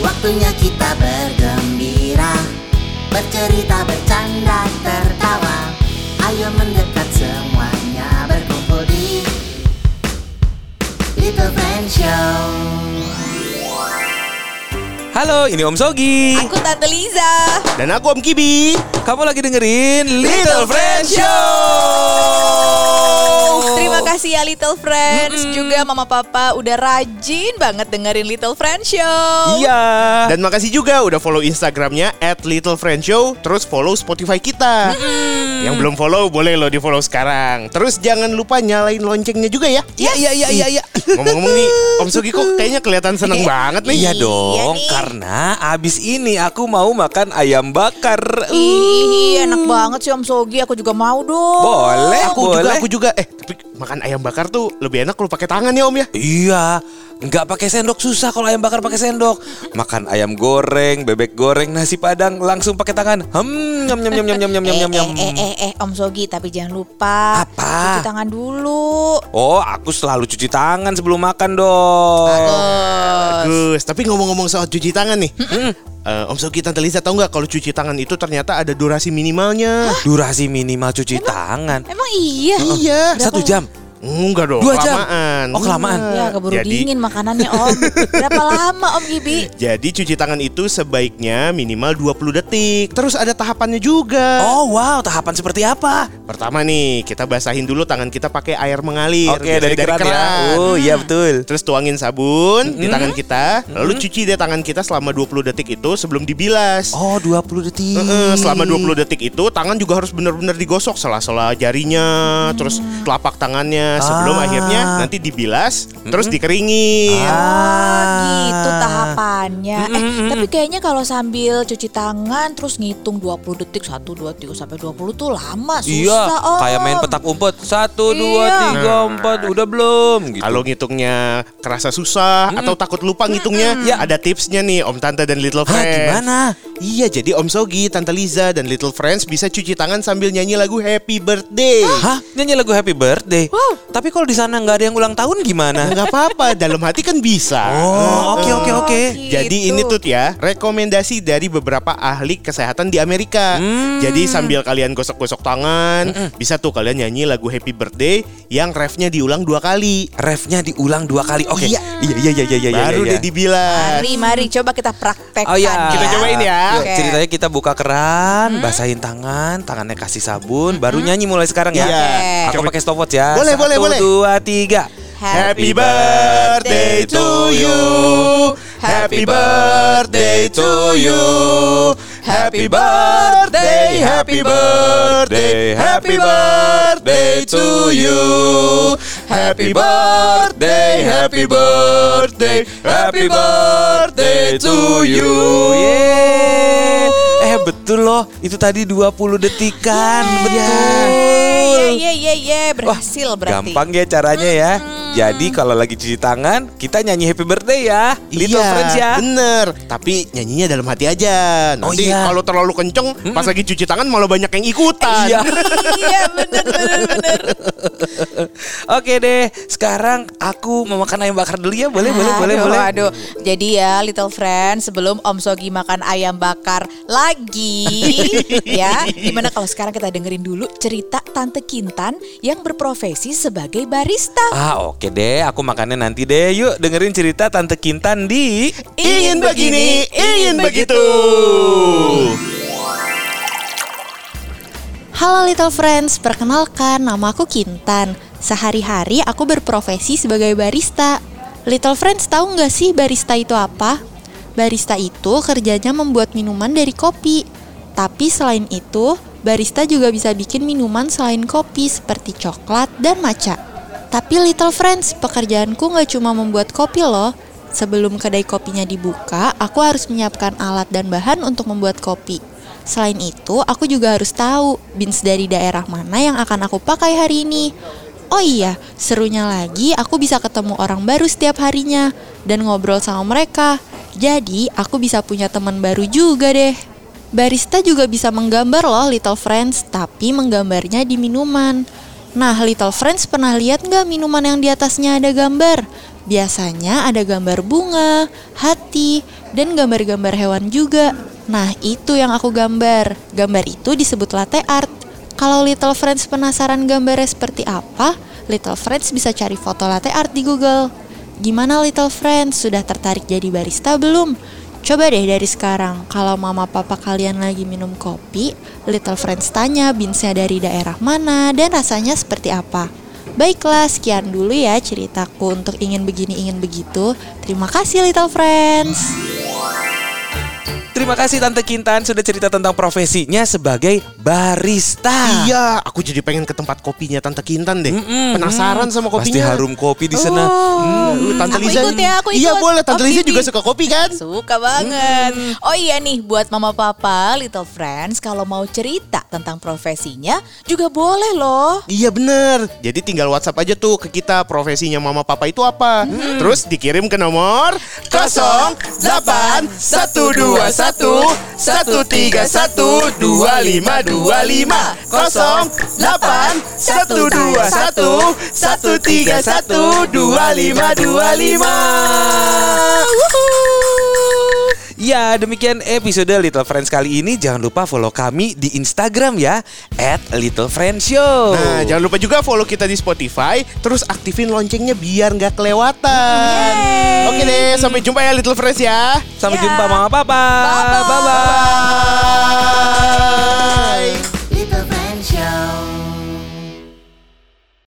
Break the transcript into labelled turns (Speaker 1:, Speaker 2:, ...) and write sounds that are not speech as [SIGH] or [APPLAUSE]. Speaker 1: Waktunya kita bergembira Bercerita, bercanda, tertawa Ayo mendekat semuanya Berkumpul di Little Friend Show
Speaker 2: Halo, ini Om Sogi.
Speaker 3: Aku Tante Liza.
Speaker 4: Dan aku Om Kibi.
Speaker 2: Kamu lagi dengerin Little Friend Show.
Speaker 3: Terima kasih ya Little Friends juga Mama Papa udah rajin banget dengerin Little Friends Show.
Speaker 2: Iya. Dan
Speaker 4: [LAUGHS] Dan makasih juga udah follow Instagramnya at Little Friend Show. Terus follow Spotify kita. Yang belum follow boleh lo di follow sekarang. Terus jangan lupa nyalain loncengnya juga ya. [LAUGHS]
Speaker 2: Iya, iya, iya, iya, iya.
Speaker 4: Ngomong-ngomong nih, Om Sugi kok kayaknya kelihatan seneng banget nih.
Speaker 2: Iya dong,
Speaker 3: nih.
Speaker 2: karena abis ini aku mau makan ayam bakar.
Speaker 3: Ih, enak banget sih Om Sogi. Aku juga mau dong.
Speaker 2: Boleh,
Speaker 4: Aku
Speaker 2: boleh.
Speaker 4: juga, aku juga. Eh, tapi makan ayam bakar tuh lebih enak kalau pakai tangan ya Om ya.
Speaker 2: Iya, nggak pakai sendok susah kalau ayam bakar pakai sendok. Makan ayam goreng, bebek goreng, nasi padang langsung pakai tangan. Hmm, nyam nyam nyam nyam nyam nyam
Speaker 3: Eh,
Speaker 2: nyam nyam.
Speaker 3: eh, eh, eh, eh, Om Sogi, tapi jangan lupa
Speaker 2: Apa?
Speaker 3: cuci tangan dulu.
Speaker 2: Oh, aku selalu cuci tangan sebelum makan dong.
Speaker 4: Bagus. Tapi ngomong-ngomong soal cuci tangan nih. Eh, Om Sugi, Tante Lisa tahu nggak kalau cuci tangan itu ternyata ada durasi minimalnya?
Speaker 2: Durasi minimal cuci tangan
Speaker 3: Emang iya.
Speaker 4: Iya.
Speaker 2: satu jam.
Speaker 4: Enggak dong,
Speaker 2: Dua jam?
Speaker 4: kelamaan. Iya.
Speaker 2: Oh, kelamaan.
Speaker 3: Ya keburu
Speaker 4: Jadi-
Speaker 3: dingin makanannya
Speaker 2: [LAUGHS]
Speaker 3: Om. Berapa lama Om Gibi?
Speaker 4: Jadi cuci tangan itu sebaiknya minimal 20 detik. Terus ada tahapannya juga.
Speaker 2: Oh wow, tahapan seperti apa?
Speaker 4: Pertama nih, kita basahin dulu tangan kita pakai air mengalir. Biasanya
Speaker 2: Oh iya betul.
Speaker 4: Terus tuangin sabun di tangan kita, lalu cuci deh tangan kita selama 20 detik itu sebelum dibilas.
Speaker 2: Oh 20 detik.
Speaker 4: Heeh, selama 20 detik itu tangan juga harus benar-benar digosok sela-sela jarinya, terus telapak tangannya sebelum
Speaker 2: Ah.
Speaker 4: akhirnya nanti dibilas, terus dikeringin.
Speaker 2: Ah.
Speaker 3: Gitu tahapannya. Eh, tapi kayaknya kalau sambil cuci tangan terus ngitung 20 detik 1 2 3 sampai 20 tuh lama,
Speaker 2: Iya,
Speaker 3: susah oh. Om.
Speaker 2: kayak main petak umpet. Satu, dua,
Speaker 3: Iya.
Speaker 2: tiga,
Speaker 4: Nah.
Speaker 2: empat. Udah belum? Gitu. Hmm.
Speaker 4: Kalau ngitungnya kerasa susah atau takut lupa ngitungnya, ada tipsnya nih Om Tante dan Little
Speaker 2: Hah,
Speaker 4: Friends.
Speaker 2: gimana?
Speaker 4: Iya, jadi Om Sogi, Tante Liza dan Little Friends bisa cuci tangan sambil nyanyi lagu Happy Birthday.
Speaker 2: Hah? Nyanyi lagu Happy Birthday. Tapi kalau di sana nggak ada yang ulang tahun gimana?
Speaker 4: Enggak apa-apa, dalam hati kan bisa.
Speaker 2: Oh, Gitu. oke oke oke.
Speaker 3: Iya.
Speaker 4: Jadi ini tuh ya rekomendasi dari beberapa ahli kesehatan di Amerika.
Speaker 2: Hmm.
Speaker 4: Jadi sambil kalian gosok-gosok tangan, bisa tuh kalian nyanyi lagu Happy Birthday yang refnya diulang dua kali.
Speaker 2: Refnya diulang dua kali. Oke. Iya iya iya iya iya.
Speaker 4: Baru
Speaker 2: iya.
Speaker 4: deh dibilas.
Speaker 3: Mari mari coba kita praktekkan.
Speaker 2: Oh iya.
Speaker 4: Kita cobain ya.
Speaker 2: Yuk,
Speaker 3: Oke.
Speaker 2: Ceritanya kita buka keran, basahin tangan, tangannya kasih sabun, baru nyanyi mulai sekarang ya.
Speaker 4: Iya.
Speaker 2: Aku
Speaker 4: Coba-
Speaker 2: pakai stopwatch ya.
Speaker 4: Boleh, boleh,
Speaker 2: Satu,
Speaker 4: boleh.
Speaker 2: dua, tiga.
Speaker 4: Happy birthday to you. Happy birthday to you. Happy birthday, happy birthday, happy birthday to you. Happy birthday, happy birthday, happy birthday to you.
Speaker 2: Yeay. Eh betul loh, itu tadi 20 detikan. Betul.
Speaker 3: Ye ye ye ye iya, berhasil berarti.
Speaker 2: Gampang ya caranya ya. Jadi kalau lagi cuci tangan, kita nyanyi happy birthday ya. Little
Speaker 4: iya,
Speaker 2: friends ya.
Speaker 4: Bener, tapi nyanyinya dalam hati aja.
Speaker 2: Oh,
Speaker 4: Nanti
Speaker 2: iya.
Speaker 4: kalau terlalu kenceng, pas lagi cuci tangan malah banyak yang ikutan.
Speaker 2: Iya.
Speaker 3: iya bener bener bener.
Speaker 2: Oke deh, sekarang aku mau makan ayam bakar dulu ya. Boleh, boleh, boleh,
Speaker 3: Aduh,
Speaker 2: boleh.
Speaker 3: Aduh. Jadi ya little friend sebelum Om Sogi makan ayam bakar
Speaker 4: [LAUGHS]
Speaker 3: lagi ya. Gimana kalau sekarang kita dengerin dulu cerita Tante Kintan yang berprofesi sebagai barista.
Speaker 2: Ah oke deh, aku makannya nanti deh. Yuk dengerin cerita Tante Kintan di
Speaker 4: Ingin begini, ingin begitu.
Speaker 5: Halo Little Friends, perkenalkan nama aku Kintan. Sehari-hari aku berprofesi sebagai barista. Little Friends tahu nggak sih barista itu apa? Barista itu kerjanya membuat minuman dari kopi. Tapi selain itu, barista juga bisa bikin minuman selain kopi seperti coklat dan matcha. Tapi Little Friends, pekerjaanku nggak cuma membuat kopi loh. Sebelum kedai kopinya dibuka, aku harus menyiapkan alat dan bahan untuk membuat kopi. Selain itu, aku juga harus tahu beans dari daerah mana yang akan aku pakai hari ini. Oh iya, serunya lagi aku bisa ketemu orang baru setiap harinya dan ngobrol sama mereka. Jadi, aku bisa punya teman baru juga deh. Barista juga bisa menggambar loh Little Friends, tapi menggambarnya di minuman. Nah, Little Friends pernah lihat nggak minuman yang di atasnya ada gambar? Biasanya ada gambar bunga, hati, dan gambar-gambar hewan juga. Nah, itu yang aku gambar. Gambar itu disebut latte art. Kalau Little Friends penasaran gambarnya seperti apa, Little Friends bisa cari foto latte art di Google. Gimana Little Friends, sudah tertarik jadi barista belum? Coba deh dari sekarang, kalau mama papa kalian lagi minum kopi, Little Friends tanya beansnya dari daerah mana dan rasanya seperti apa. Baiklah, sekian dulu ya ceritaku untuk ingin begini ingin begitu. Terima kasih little friends.
Speaker 2: Terima kasih Tante Kintan sudah cerita tentang profesinya sebagai barista.
Speaker 4: Iya, aku jadi pengen ke tempat kopinya Tante Kintan deh.
Speaker 2: Mm-mm.
Speaker 4: Penasaran sama
Speaker 2: Pasti
Speaker 4: kopinya.
Speaker 2: harum kopi di sana.
Speaker 4: Oh,
Speaker 2: Hmm.
Speaker 4: Tante
Speaker 3: Aku
Speaker 4: Liza.
Speaker 3: ikut ya, aku
Speaker 4: Iya
Speaker 3: ikut.
Speaker 4: boleh, Tante
Speaker 3: Oh,
Speaker 4: Liza juga
Speaker 3: Bibi.
Speaker 4: suka kopi kan? Hmm.
Speaker 3: Suka banget. Oh iya nih, buat mama papa, little friends, kalau mau cerita tentang profesinya juga boleh loh.
Speaker 4: Iya bener Jadi tinggal WhatsApp aja tuh ke kita profesinya mama papa itu apa.
Speaker 3: Hmm.
Speaker 4: Terus dikirim ke nomor 0812112525
Speaker 2: Ya demikian episode Little Friends kali ini. Jangan lupa follow kami di Instagram ya. At Little Friends Show.
Speaker 4: Nah, jangan lupa juga follow kita di Spotify, terus aktifin loncengnya biar nggak kelewatan. Oke deh, sampai jumpa ya Little Friends ya.
Speaker 2: Sampai
Speaker 3: Ya.
Speaker 2: jumpa mama papa.
Speaker 3: Bye-bye.
Speaker 2: Bye-bye.